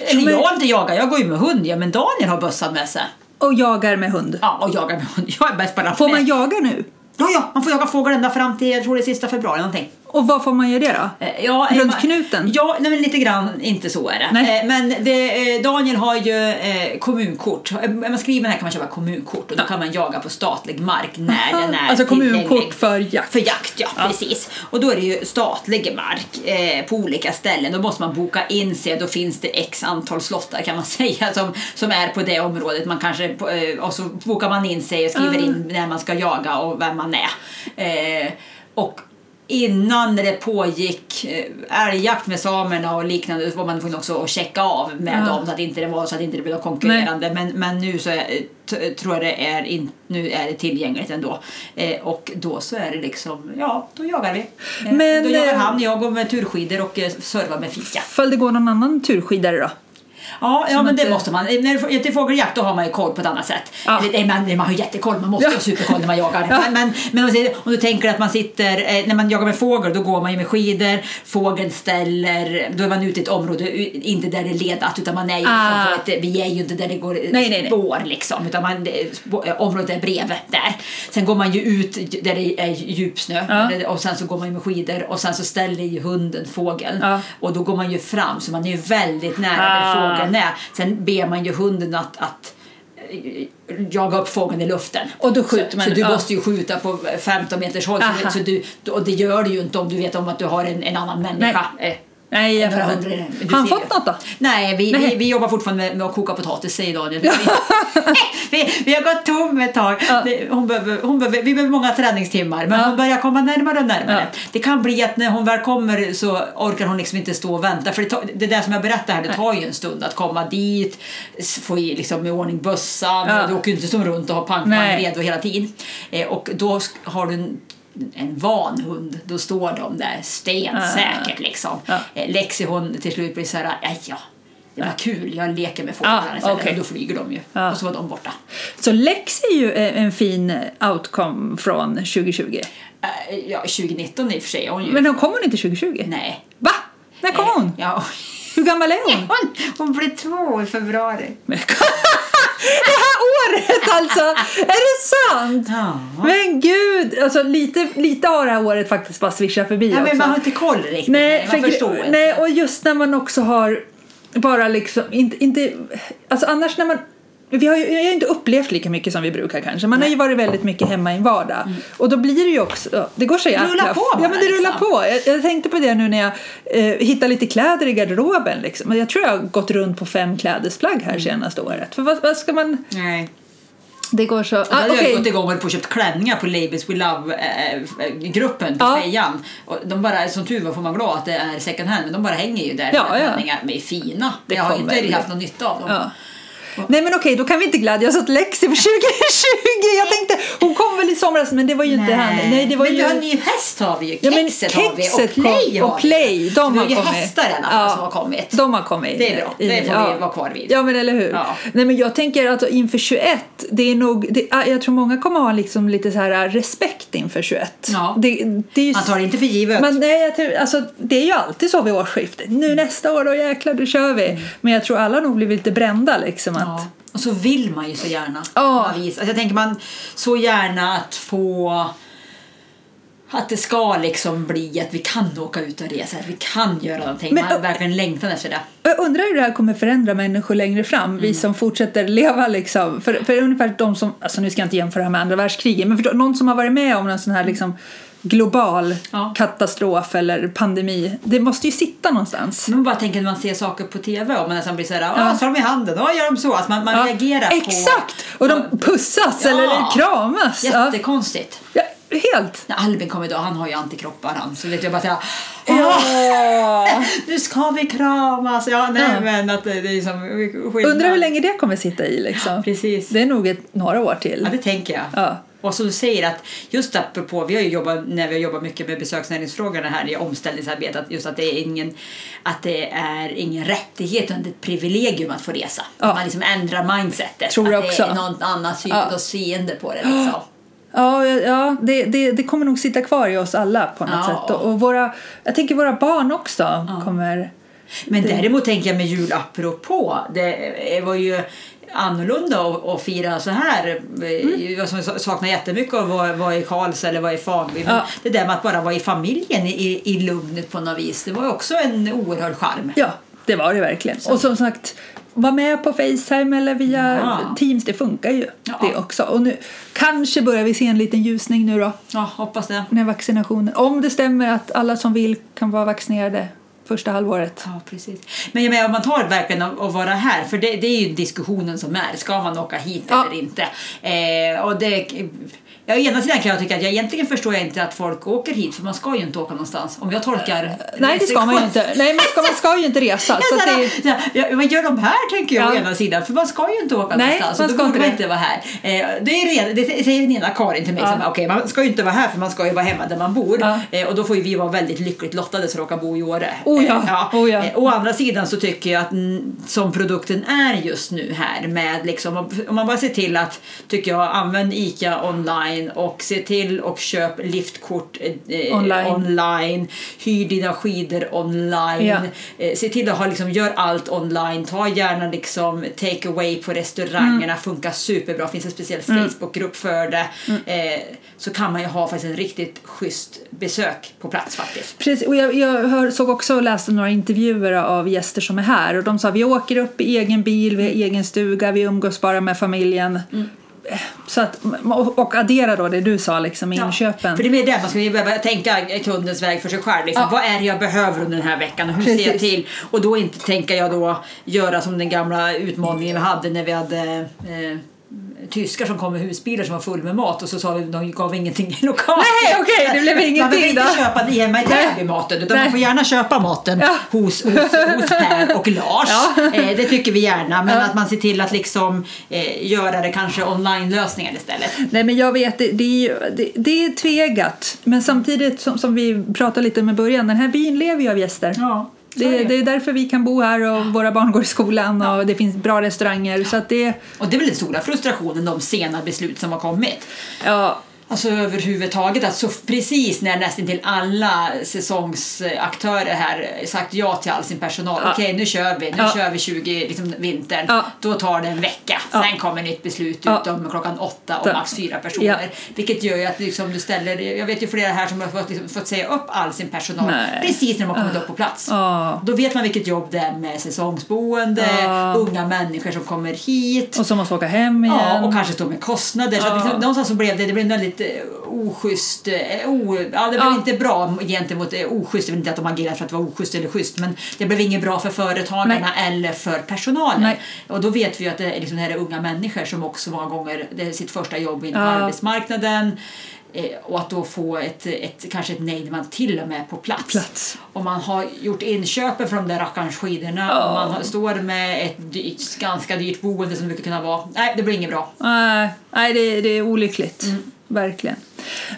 Eller men- jag har inte jagat, jag går ju med hund ja, men Daniel har bössan med sig. Och jagar med hund. Ja, och jagar med hund. Jag är bäst på det. Får man jaga nu? Ja, ja, man får jaga fågel ända fram till, jag tror det är sista februari någonting. Och vad får man göra det då? Eh, Ja, eh, Runt man- knuten? Ja, nej, men lite grann inte så är det. Nej. Eh, Men det, eh, Daniel har ju eh, kommunkort. Eh, När man skriver här kan man köpa kommunkort och då kan man jaga på statlig mark när den är alltså kommunkort tillgänglig. för jakt. För jakt, ja, precis. Och då är det ju statlig mark eh, på olika ställen. Då måste man boka in sig. Då finns det x antal slottar kan man säga som, som är på det området. Man kanske, på- eh, och så bokar man in sig och skriver in Mm. när man ska jaga och vem man är. Eh, och Innan det pågick eh, älgjakt med samerna och liknande så var man tvungen också att checka av med Ja. dem så att inte det var så att inte det blev något konkurrerande. Men, men nu så är, t- tror jag det är, in, nu är det tillgängligt ändå. Eh, och då så är det liksom, ja, då jagar vi. Eh, Men, då jagar eh, han, jag går med turskidor och eh, servar med fika. Ifall det går någon annan turskidare då? Ja, ja Som men att det det- måste man. Eh, När det är till fågeljakt då har man ju koll på ett annat sätt. Ja. Eller, nej, man, man har ju jättekoll, man måste Ja. ha superkoll när man jagar. Ja. Men, men, men om, man säger- om du tänker att man sitter, eh, när man jagar med fågel då går man ju med skidor, fågeln ställer, då är man ute i ett område, u- inte där det är ledat utan man är ju Ah. liksom på ett, vi är ju inte där det går nej, Nej, nej, nej. spår liksom, utan man, det är spå- eh, området är bredvid där. Sen går man ju ut där det är djupsnö Ja. eller- och sen så går man ju med skidor och sen så ställer ju hunden fågeln Ja. och då går man ju fram så man är ju väldigt nära Ah. där fågeln är. Sen ber man ju hunden att, att eh, jaga upp fågeln i luften. Och då skjuter så, man- Så du ja. måste ju skjuta på 15 meters håll. Så, Aha. så du, och det gör du ju inte om du vet om att du har en, en annan människa. eh, Nej, jag några fattar. hundra i den. Du Har han ser fått ju. något då? Nej, vi, Nej. Vi, vi jobbar fortfarande med, med att koka potatis säger Daniel. Vi, vi, vi har gått tom ett tag. Ja. Det- Hon behöver, hon behöver, vi behöver många träningstimmar men Ja. hon börjar komma närmare och närmare. Ja. Det kan bli att när hon väl kommer så orkar hon liksom inte stå och vänta för det, tar, det där som jag berättar här det tar ju en stund att komma dit, s- få i, liksom, i ordning bössan, Ja. du åker ju inte som runt och har pankvagn Nej. redo hela tiden. Eh, och då sk- har du en en van hund, då står de där stensäkert liksom. Ja. Eh, Lexi hon till slut blir så här, "Aj, ja, det var kul, jag leker med fåglarna Ah, istället. okej. Och då flyger de ju. Ja. Och så var de borta. Så Lex är ju eh, en fin outcome från 2020. Eh, Ja, 2019 i och för sig. Hon ju, Men hon kommer inte 2020? nej. Eh. Va? När kom Nej. hon? Ja. Hur gammal är hon? Hon, hon blir två i februari. Det här året alltså! Är det sant? Ja. Men gud, alltså lite, lite har det här året faktiskt bara swishat förbi Nej, också. men man har inte koll riktigt. Nej, man för, förstår inte. nej, och just när man också har bara liksom inte, inte alltså annars när man vi har ju jag har ju inte upplevt lika mycket som vi brukar kanske. Man har ju varit väldigt mycket hemma i en vardag. Och då blir det ju också, det går sig Det rullar på Ja bara, men det rullar liksom. på. Jag, jag tänkte på det nu när jag eh, hittade lite kläder i garderoben liksom. Och Jag tror jag har gått runt på fem klädesplagg här senaste året. För vad, vad ska man, nej. Det går så. Då Ah, hade okej. jag gått igång och höll på och köpt klänningar på Labels We Love-gruppen på Ja. fejan. Och de bara, som tur var får man glad att det är second hand, men de bara hänger ju där. Ja, Mina ja. klänningar, de är fina. Det jag har kommer. inte riktigt haft någon nytta av dem. Ja. Nej men okej, då kan vi inte glädja oss åt Lexi för 2020. Jag tänkte, hon kom väl i somras men det var ju inte han. Nej, det var men ju... vi har en ny häst har vi ju, Ja, men kexet har vi och Kexet kom- play har och Play, vi. de Så vi har har ju kommit. hästar i alla fall Ja. som har kommit. De har kommit. Det är bra. in- Det får vi ja. vara kvar vid. Ja, men eller hur. Ja. Nej, men jag tänker att inför 21, det är nog, det, ah, jag tror många kommer ha liksom lite så här ah, respekt inför 21. Ja. Det, det är ju, Man tar det inte för givet. men nej, jag tror, alltså, det är ju alltid så vid årsskiftet. Nu Mm. nästa år, då jäklar, då kör vi. Men jag tror alla nog blir lite brända liksom. Att, Ja. Och så vill man ju så gärna. Ja. Man vis- Alltså jag tänker man så gärna att få att det ska liksom bli att vi kan åka ut och resa, att vi kan göra någonting. Men- man verkligen längtar efter det. Och Jag undrar hur det här kommer förändra människor längre fram, Mm. vi som fortsätter leva liksom. För, för ungefär de som, alltså nu ska jag inte jämföra det här med andra världskriget, men för de- någon som har varit med om en sån här liksom global Ja. katastrof eller pandemi, det måste ju sitta någonstans. Men man bara tänker när man ser saker på TV och man nästan blir så här, ja. så har de i handen, ja gör de så. Alltså man man Ja, reagerar på... Exakt! Och de pussas Ja. eller kramas. Ja. Jättekonstigt. Ja, helt. När Albin kom idag, han har ju antikroppar han, så vet jag bara såhär, Ja. nu ska vi kramas. Ja, nej Ja. men att det det är som skillnad. Undrar hur länge det kommer sitta i liksom. Precis. Det är nog ett, några år till. Ja, det tänker jag. Ja. Och som du säger att just apropå, vi har ju jobbat, när vi har jobbat mycket med besöksnäringsfrågorna här i omställningsarbetet, att just att det är ingen, att det är ingen rättighet utan det är ett privilegium att få resa. Ja. Att man liksom ändrar mindsetet. Tror jag att det också. är någon annan syn Ja. och seende på det liksom. Ja, ja, ja det, det, det kommer nog sitta kvar i oss alla på något Ja. sätt. Och, och våra, jag tänker våra barn också kommer... Men däremot tänker jag med jul apropå, det var ju annorlunda att, att fira så här. Jag som saknar jättemycket att vara, vara i Karls eller vara i Fanby. Men Ja. Det där med att bara vara i familjen i, i lugnet på något vis, det var ju också en oerhörd charm. Ja, det var det verkligen. Och som sagt, vara med på Facetime eller via Ja. Teams, det funkar ju Ja. det också. Och nu kanske börjar vi se en liten ljusning nu då, Ja, hoppas det. när vaccinationen... Om det stämmer att alla som vill kan vara vaccinerade första halvåret. Ja, precis. Men jag menar, om man tar verkligen att att vara här, för det, det är ju diskussionen som är, ska man åka hit Ja. eller inte? Eh, och det, ja, å ena sidan kan jag tycka att jag egentligen förstår jag inte att folk åker hit, för man ska ju inte åka någonstans. Om jag tolkar... Eh, Nej, det ska man ju inte. Nej, man ska, man ska ju inte resa. Så Jag att det, såhär, är- såhär, ja, vad gör de här tänker jag Ja. å ena sidan för man ska ju inte åka Nej, någonstans man och då ska borde inte man det. inte vara här. Eh, det, är redan, det säger den ena Karin till mig Ja. som bara, okej man ska ju inte vara här för man ska ju vara hemma där man bor Ja. eh, och då får ju vi vara väldigt lyckligt lottade som råkar bo i Åre. Oh ja, Eh, oh ja. Eh, å andra sidan så tycker jag att mm, som produkten är just nu här med liksom om man bara ser till att tycker jag använd ICA online och se till och köp liftkort eh, Online. online hyr dina skidor online Ja. Eh, Se till att ha, liksom, gör allt online. Ta gärna liksom, take away på restaurangerna. Funkar superbra. Finns en speciell Facebookgrupp för det. Eh, så kan man ju ha faktiskt en riktigt schysst besök på plats faktiskt. Precis, och jag, jag hör, såg också och läste några intervjuer av gäster som är här och de sa vi åker upp i egen bil, vi har egen stuga, vi umgås bara med familjen. Mm. Eh, Så att, och, och addera då det du sa liksom med inköpen. För det är mer det, man ska ju behöva tänka kundens väg för sig själv. Liksom. Ja. Vad är det jag behöver under den här veckan och hur ser jag Precis. till? Och då inte tänka jag då göra som den gamla utmaningen vi hade när vi hade eh, tyskar som kom med husbilar som var full med mat och så sa vi de gav ingenting i lokalen. Nej, okej, det blev ingenting Man behöver inte då. köpa det hemma i Täby maten utan Nej. man får gärna köpa maten Ja. hos, hos, hos Per och Lars. Ja. Eh, det tycker vi gärna men Ja. att man ser till att liksom eh, göra det kanske online-lösningar istället. Nej men jag vet, det, det, är, ju- det, det är tvegat. Men samtidigt som, som vi pratade lite med början, den här byn lever ju av gäster. Ja, så är Det, det. det är därför vi kan bo här och våra barn går i skolan och det finns bra restauranger. Så att det, Och det är väl den stora frustrationen, de sena beslut som har kommit. ja, Alltså överhuvudtaget att så precis när nästan till alla säsongsaktörer här sagt ja till all sin personal. Ja. Okej, nu kör vi. Nu Ja. kör vi 20, liksom vintern. Ja. Då tar det en vecka. Ja. Sen kommer nytt beslut Ja. ut om klockan åtta och Ja. max fyra personer. Ja. Vilket gör ju att liksom du ställer, jag vet ju flera här som har fått, liksom, fått säga upp all sin personal Nej. precis när de har kommit upp på plats. Ja. Då vet man vilket jobb det är med säsongsboende, Ja. unga människor som kommer hit. och så måste vi åka hem igen. Ja, och kanske stå med kostnader. Så att Ja. liksom, någonstans så blev det, det blev en väldigt eh, oschysst, eh, o, ja, det blev Ja. inte bra gentemot eh, oschysst, jag vet inte att de agerade för att det var oschysst eller schysst, men det blev inget bra för företagarna eller för personalen. Nej. Och då vet vi ju att det är liksom det här är unga människor som också många gånger, det är sitt första jobb inom Ja. arbetsmarknaden eh, och att då få ett, ett, kanske ett nej när man till och med på plats. Plats. Och man har gjort inköpen från de där rackarns skidorna och man har- står med ett dyrt, ganska dyrt boende som det brukar kunna vara. Nej, det blir inget bra. Nej, nej det, det är olyckligt. Mm. Verkligen.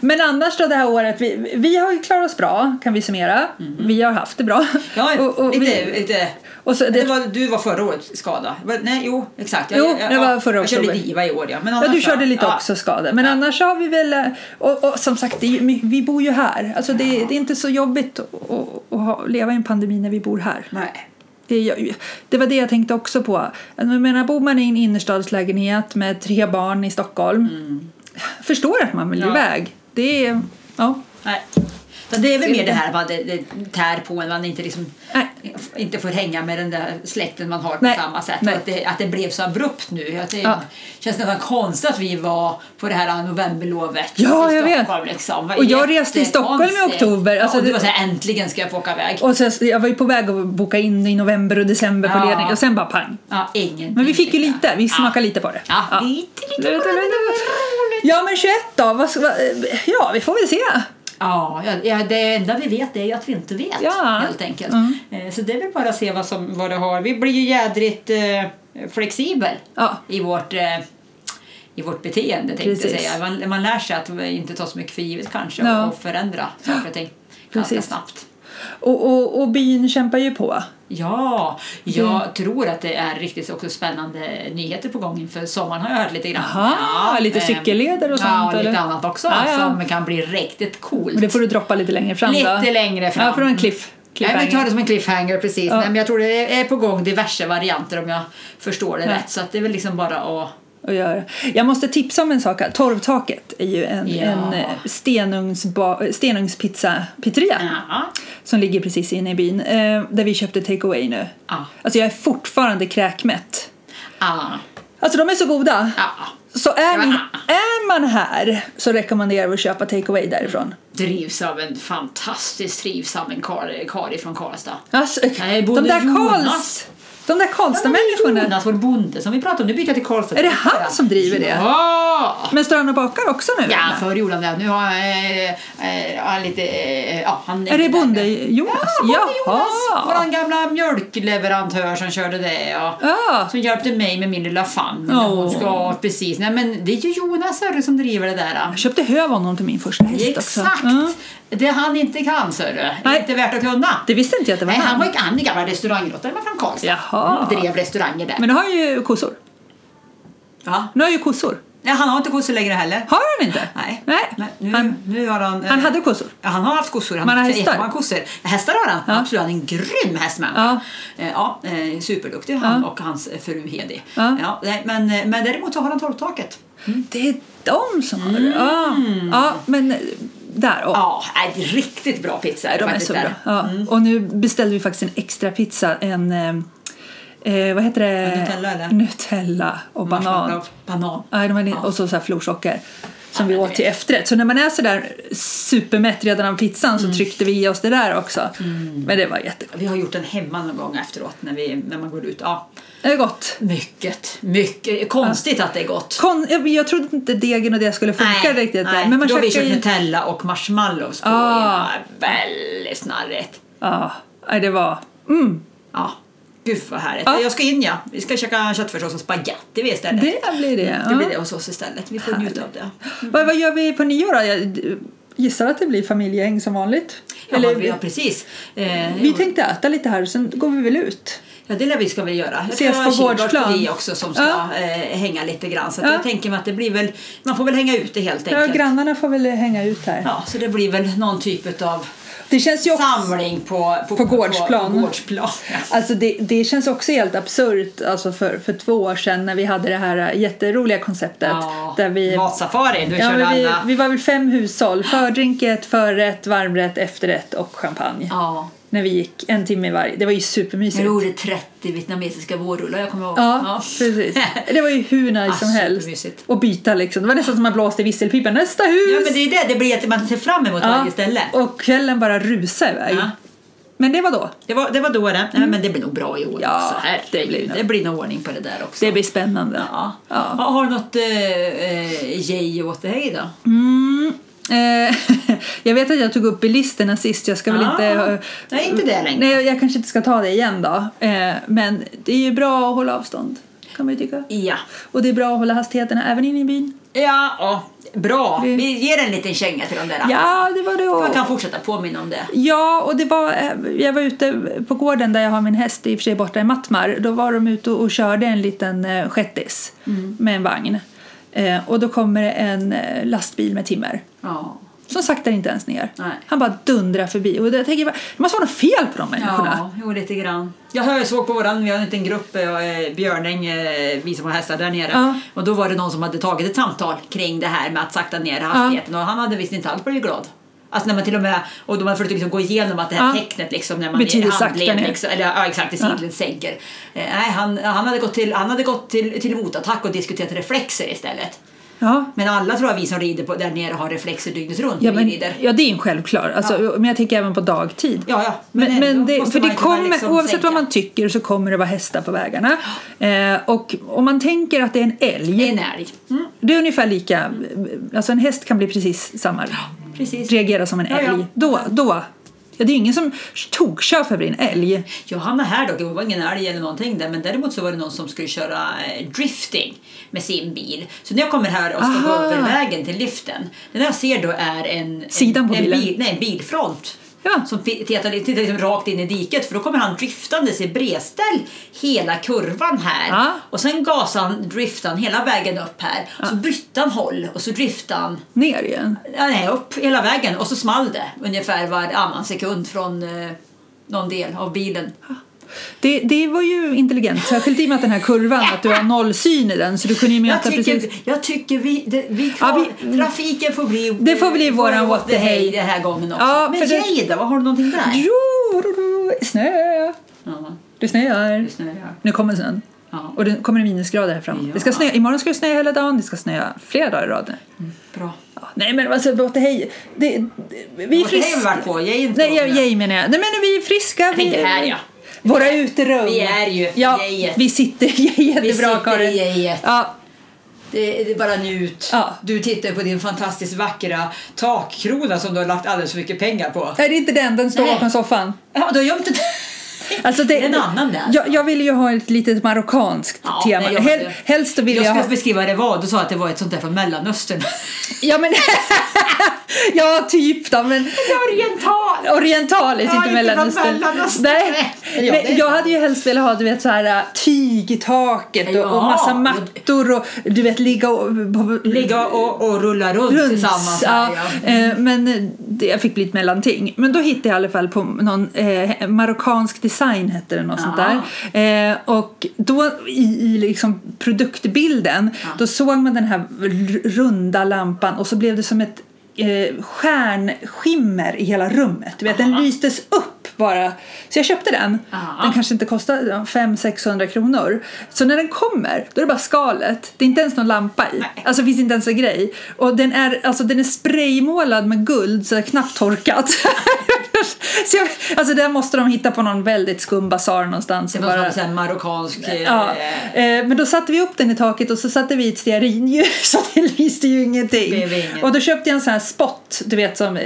Men annars då det här året, vi, vi har ju klarat oss bra kan vi summera. Vi har haft det bra. Mm. Ja, och, och lite, vi, lite. och så, Det, det, var, du var förra året skada. Va- Nej, jo, exakt. Jo, det var förra Jag körde oktober. lite IVA i år, ja. Men ja, annars du då? körde lite Ja. också skada. Men annars har vi väl, eh, och, och som sagt det är, ju my- vi bor ju här. Alltså det, det är inte så jobbigt att, att, att ha- leva i en pandemi när vi bor här. Nej. Det, jag- det var det jag tänkte också på. Alltså, Jag menar, bor man i en innerstadslägenhet med tre barn i Stockholm, förstår att man vill Mm. Ja. iväg. Det är, ja. Nej. Så det är väl Det mer är det lite- här att det, det tär på en, man inte, liksom, Nej. inte får hänga med den där släkten man har på Nej. samma sätt. Nej. Och Att, det, att det blev så abrupt nu. Att det Ja. känns nästan konstigt att vi var på det här novemberlovet Ja, i jag vet. Stockholm. Liksom. Och jag reste i Stockholm i Jättekonstigt. oktober. Alltså, ja, och du det- var så här, äntligen ska jag få åka iväg. Och sen, jag var ju på väg att boka in i november och december på Ja. ledning och sen bara pang. Ja, ingen Men vi fick ju lite, vi smakade lite på det. Ja, lite, lite. Lite, lite. Ja men 21 då, vad, ska- vad, ja vi får väl se. Ja, ja, ja, det enda vi vet är ju att vi inte vet Ja. helt enkelt. Mm. Eh, Så det är väl bara att se vad, som, vad det har. Vi blir ju jädrigt eh, flexibel Ja. i, vårt, eh, i vårt beteende tänkte jag Precis. säga. Man, man lär sig att inte ta så mycket för givet kanske Ja. och förändra saker och ting ganska Precis. snabbt. Och, och, och byn kämpar ju på. Ja, jag Mm. tror att det är riktigt också spännande nyheter på gång inför sommaren har jag hört lite grann. Aha, lite eh, cykelleder och sånt, Ja, lite eller? annat också Ja, ja. som kan bli riktigt coolt. Men det får du droppa lite längre fram då. Lite längre fram. Ja, för då är en cliff, Nej, men vi tar cliffhanger. det som en cliffhanger precis. Ja. Nej, men jag tror det är på gång diverse varianter om jag förstår det rätt. Så att det är väl liksom bara att... och göra. Jag måste tipsa om en sak. här. Torvtaket är ju en, Ja. en eh, stenugnsba- stenugnspizza pizzeria Ja. som ligger precis inne i byn eh, där vi köpte takeaway nu. Ja. Alltså jag är fortfarande kräkmätt. Ja. Alltså de är så goda. Ja. Så är, Ja. är man här så rekommenderar vi att köpa takeaway därifrån. Drivs av en fantastiskt trivsam en kar, kar från Karlstad. Alltså, Nej, de både där Jonas- Karls... De där Karlstad-människorna. Jonas, vår bonde som vi pratade om. Nu byter jag till Karlstad. Är det han som driver det? Ja! men står han och bakar också nu? Ja, eller? förr gjorde han det. Nu har han eh, eh, han lite... Eh, ja, han Är det bonde-Jonas? Ja, bonde Ah, Jonas. Jaha. Vår gamla mjölkleverantör som körde det. Och, Ja. Som hjälpte mig med min lilla famn. Ah. Åh. Hon ska, precis. Nej, men det är ju Jonas hörru, som driver det där. Jag köpte höv av honom till min första häst Exakt! Ah, också. Ja. Det han inte kan, hörru. Nej. Inte värt att kunna. Det visste inte jag att det var Nej, han han. var ju han är gammal restaurangråttare men från Karlstad. Jaha. Mm, drev restauranger där. Men nu har han ju kossor. ja. Nu har ju kossor. Nej, han har inte kossor längre heller. Har han inte? Nej. Nej. Nej, nu, Han, nu har han, eh, han hade kossor. Ja, han har haft kossor. Han Men han har hästar? Han har kossor. Hästar har han. Ja. Absolut, han är en grym hästmänniska. Ja. Ja, eh, superduktig han och hans fru Hedi. Ja. nej, men, eh, men däremot så har han torvtaket. Det är de som har det. Ja. Mm. ja, men eh, där. åh. Ja, nej, riktigt bra pizza. De är faktiskt så där. Mm. bra. Ja. Och nu beställde vi faktiskt en extra pizza. En, eh, eh, vad heter det? Nutella, eller? Nutella och banan. Marshmallow, Banan. Ja, de hade, Och så, så här florsocker som vi men åt det- till efterrätt. Så när man är så där supermätt redan av pizzan Mm. så tryckte vi i oss det där också. Men det var jättegott. Vi har gjort den hemma någon gång efteråt när, vi, när man går ut. Ja, Det är gott. mycket, mycket. Konstigt att det är gott. Kon, jag, jag trodde inte degen och det skulle funka riktigt. där. nej. Men man Då har vi käkar kört ju... Nutella och marshmallows på. Ah. Ja, väldigt snarrigt. Ja, nej, det var... Mm. Ja. Gud vad härligt. Ja. Jag ska in ja. Vi ska käka köttfärssås och spagetti vi istället. Det blir det. Det blir ja. det hos oss istället. Vi får njuta av det. Vad, vad gör vi på nyår då? Jag gissar att det blir familjehäng som vanligt. Ja, Eller- men vi, ja precis. Eh, Vi jo. tänkte äta lite här och sen går vi väl ut. ja, det lär vi ska väl göra. Jag tror jag Ses på har Kilgard gårdsplan. förbi också som ska Ja. eh, hänga lite grann. Så att Ja. jag tänker mig att det blir väl, man får väl hänga ute helt Ja, enkelt. grannarna får väl hänga ut här. Ja, så det blir väl någon typ av Det känns ju också, samling på, På gårdsplan. På, på gårdsplan. Ja. alltså det, det känns också helt absurt alltså för, för två år sedan när vi hade det här äh, jätteroliga konceptet. Ja, där vi, Matsafari, du ja, kör men vi, alla. vi var väl fem hushåll, fördrinket, förrätt, varmrätt, efterrätt och champagne. Ja. när vi gick en timme varje. Det var ju supermysigt. Jag gjorde 30 vietnamesiska vårrullar, jag kommer ihåg. Ja, precis. Det var ju hur nice Ah, som helst. supermysigt. Och byta liksom. Det var nästan som man blåste i visselpipan. Nästa hus! Ja, men det är det, det blir att man ser fram emot Ja, varje ställe. Och kvällen bara rusade iväg. Ja. Men det var då. Det var, det var då det. Nej, men det blir nog bra i år Mm. Ja, också. det blir Herregud, nog- det blir nog ordning på det där också. Det blir spännande. Ja. Ja. Ja, Har du något eh, eh, yay åt dig då? Mm. Eh, jag vet att jag tog upp bilisterna sist. Jag ska väl Ah, inte... eh, nej, inte det längre. Nej, jag kanske inte ska ta det igen då. Eh, men det är ju bra att hålla avstånd, kan man ju tycka. Ja. Och det är bra att hålla hastigheterna även inne i byn. Ja, ja. bra. Det- Vi ger en liten känga till de där. Ja, det var det. Man Och... kan fortsätta påminna om det. Ja, och det var, eh, jag var ute på gården där jag har min häst, i och för sig borta i Mattmar. Då var de ute och, och körde en liten eh, shettis Mm. med en vagn. Eh, och då kommer det en eh, lastbil med timmer. Ja. Som saktar inte ens ner. Nej. Han bara dundrar förbi. Och jag tänker, bara, det måste vara något fel på de människorna. Ja, jo, lite grann. Jag hör- såg på våran, vi har en liten grupp, eh, Björning, eh, vi som har hästar där nere. Ja. Och då var det någon som hade tagit ett samtal kring det här med att sakta ner hastigheten och han hade visst inte alls blivit glad. Alltså när man till och med, och de har försökt liksom gå igenom att det här Ja. tecknet liksom när man Betyder i sakta handled, ner. liksom, eller ja, exakt, i sidled sänker. Eh, nej, han, han hade gått, till, han hade gått till, till motattack och diskuterat reflexer istället. Ja. Men alla tror jag vi som rider på, där nere har reflexer dygnet runt Ja, när men, vi rider. ja, det är en självklar. Alltså, Men jag tänker även på dagtid. Ja, ja. Men, men, ändå det, måste för man det ju kunna kommer, liksom oavsett sänka. vad man tycker så kommer det vara hästar på vägarna. Eh, och om man tänker att det är en älg, En älg. Mm, det är ungefär lika, alltså en häst kan bli precis samma, precis. reagera som en Ja, älg. ja. Då, då, ja, det är ingen som tokkör förbi en älg. Jag hamnade här dock, det var ingen älg eller någonting där men däremot så var det någon som skulle köra eh, drifting med sin bil. Så när jag kommer här och ska gå Aha. över vägen till liften, det enda jag ser då är en, Sidan en, på en, bilen. bil, nej, en bilfront. Ja. Som fi- tittar, tittar liksom rakt in i diket för då kommer han driftandes i bredställ hela kurvan här. Ja. Och sen gasade han, driftade han hela vägen upp här. Så bytte han håll och så driftade han Ner igen. Ja, nej, upp hela vägen och så small det ungefär varannan sekund från eh, någon del av bilen. Det, det var ju intelligent, särskilt i och med att den här kurvan, att du har noll syn i den så du kunde ju Jag mäta precis. tycker, jag tycker vi, det, vi, Ja, vi- trafiken får bli, Det får bli våran what the hey. den här gången också. Ja, Men för det- Jada, vad har du någonting där? Jo, snö, Ja, det snöar. det snöar. Nu kommer snön. Ja. Och det kommer det minusgrader här fram. Ja. Det ska snöa. Imorgon ska det snöa hela dagen, det ska snöa flera dagar i rad nu. Bra. Ja, nej men alltså, låt det hej. Det, det, vi är What the hey har vi friska. varit på, Jay är inte Nej, på jag, nu. jag menar jag. Nej men vi är friska. Vi, tänkte här, ja. Våra uterum. Vi är ju ja, jejet. Vi sitter i jejet. Vi det är bra, sitter i Karin. jejet. Ja, Det, det är bara njut. Ja. Du tittar på din fantastiskt vackra takkrona som du har lagt alldeles för mycket pengar på. Nej, det är inte den. Den står Nej. bakom soffan. Ja, du har gömt den. Alltså det, Det är en annan där. Jag, jag ville ju ha ett litet marockanskt Ja, tema. nej, jag- Hel, helst vill jag, jag ha... skulle beskriva vad det var. Du sa att det var ett sånt där från Mellanöstern. Ja, men... ja, typ då. Men... Oriental! Orientaliskt, Ja, inte inte från Mellanöstern. Mellanöstern. Nej. Eller ja, det Men är jag sant. hade ju helst velat ha du vet, så här, äh, tyg i taket och, Ja. och massa mattor och du vet ligga och... Ligga och, och rulla runt, runt. tillsammans. Ja, Här, ja. eh, Men eh, det, jag fick bli ett mellanting. Men då hittade jag i alla fall på någon eh, marockansk design hette det något sånt där. Eh, och då i, i liksom produktbilden då såg man den här r- runda lampan och så blev det som ett eh, stjärnskimmer i hela rummet. Du vet, den lystes upp bara. Så jag köpte den. Aha. Den kanske inte kostade ja, 500-600 kronor. Så när den kommer, då är det bara skalet. Det är inte ens någon lampa i. Nej. Alltså det finns inte ens en grej. Och den är, alltså, den är spraymålad med guld så det är knappt torkat. så jag, alltså där måste de hitta på någon väldigt skum basar någonstans. Det och var bara- bara... sån marockansk... eh, Ja, eh, men då satte vi upp den i taket och så satte vi ett stearinljus så det lyste ju ingenting. Det blev inget. Och då köpte jag en sån här spot, du vet som eh,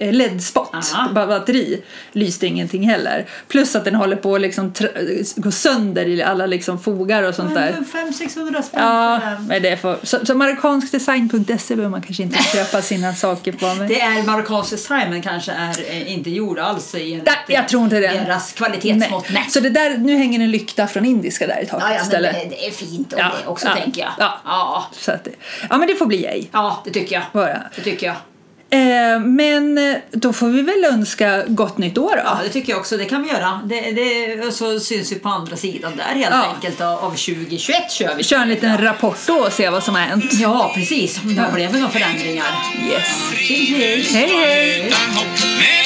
eh, LED-spot, Aha. bara batteri, lyste ingenting heller. Plus att den håller på att liksom tr- gå sönder i alla liksom fogar och sånt där. Men 500-600 spänn Ja, för den. men det är för, så, så marockanskdesign.se E behöver man kanske inte köpa sina saker på. Men... Det är marockansk design men kanske är eh, inte gjord alls i en- Nej, jag tror inte det. deras kvalitetsmått. Nej. Så det där, nu hänger en lykta från indiska där i taket Ja, ja, men istället. det, det är fint om Ja, det också ja, tänker jag. ja. Ja. Så att det, ja men det får bli ej. ja, det tycker jag. Bara. Det tycker jag. Eh, men eh, då får vi väl önska gott nytt år då. Ja, det tycker jag också. Det kan vi göra. Det, det, så syns vi på andra sidan där helt Ja. enkelt av av 2021 kör vi. Vi kör en liten rapport då och se vad som har hänt. Ja, precis. Om det blev några förändringar. Yes. Hej, hej. Hej hej! utan hopp. Men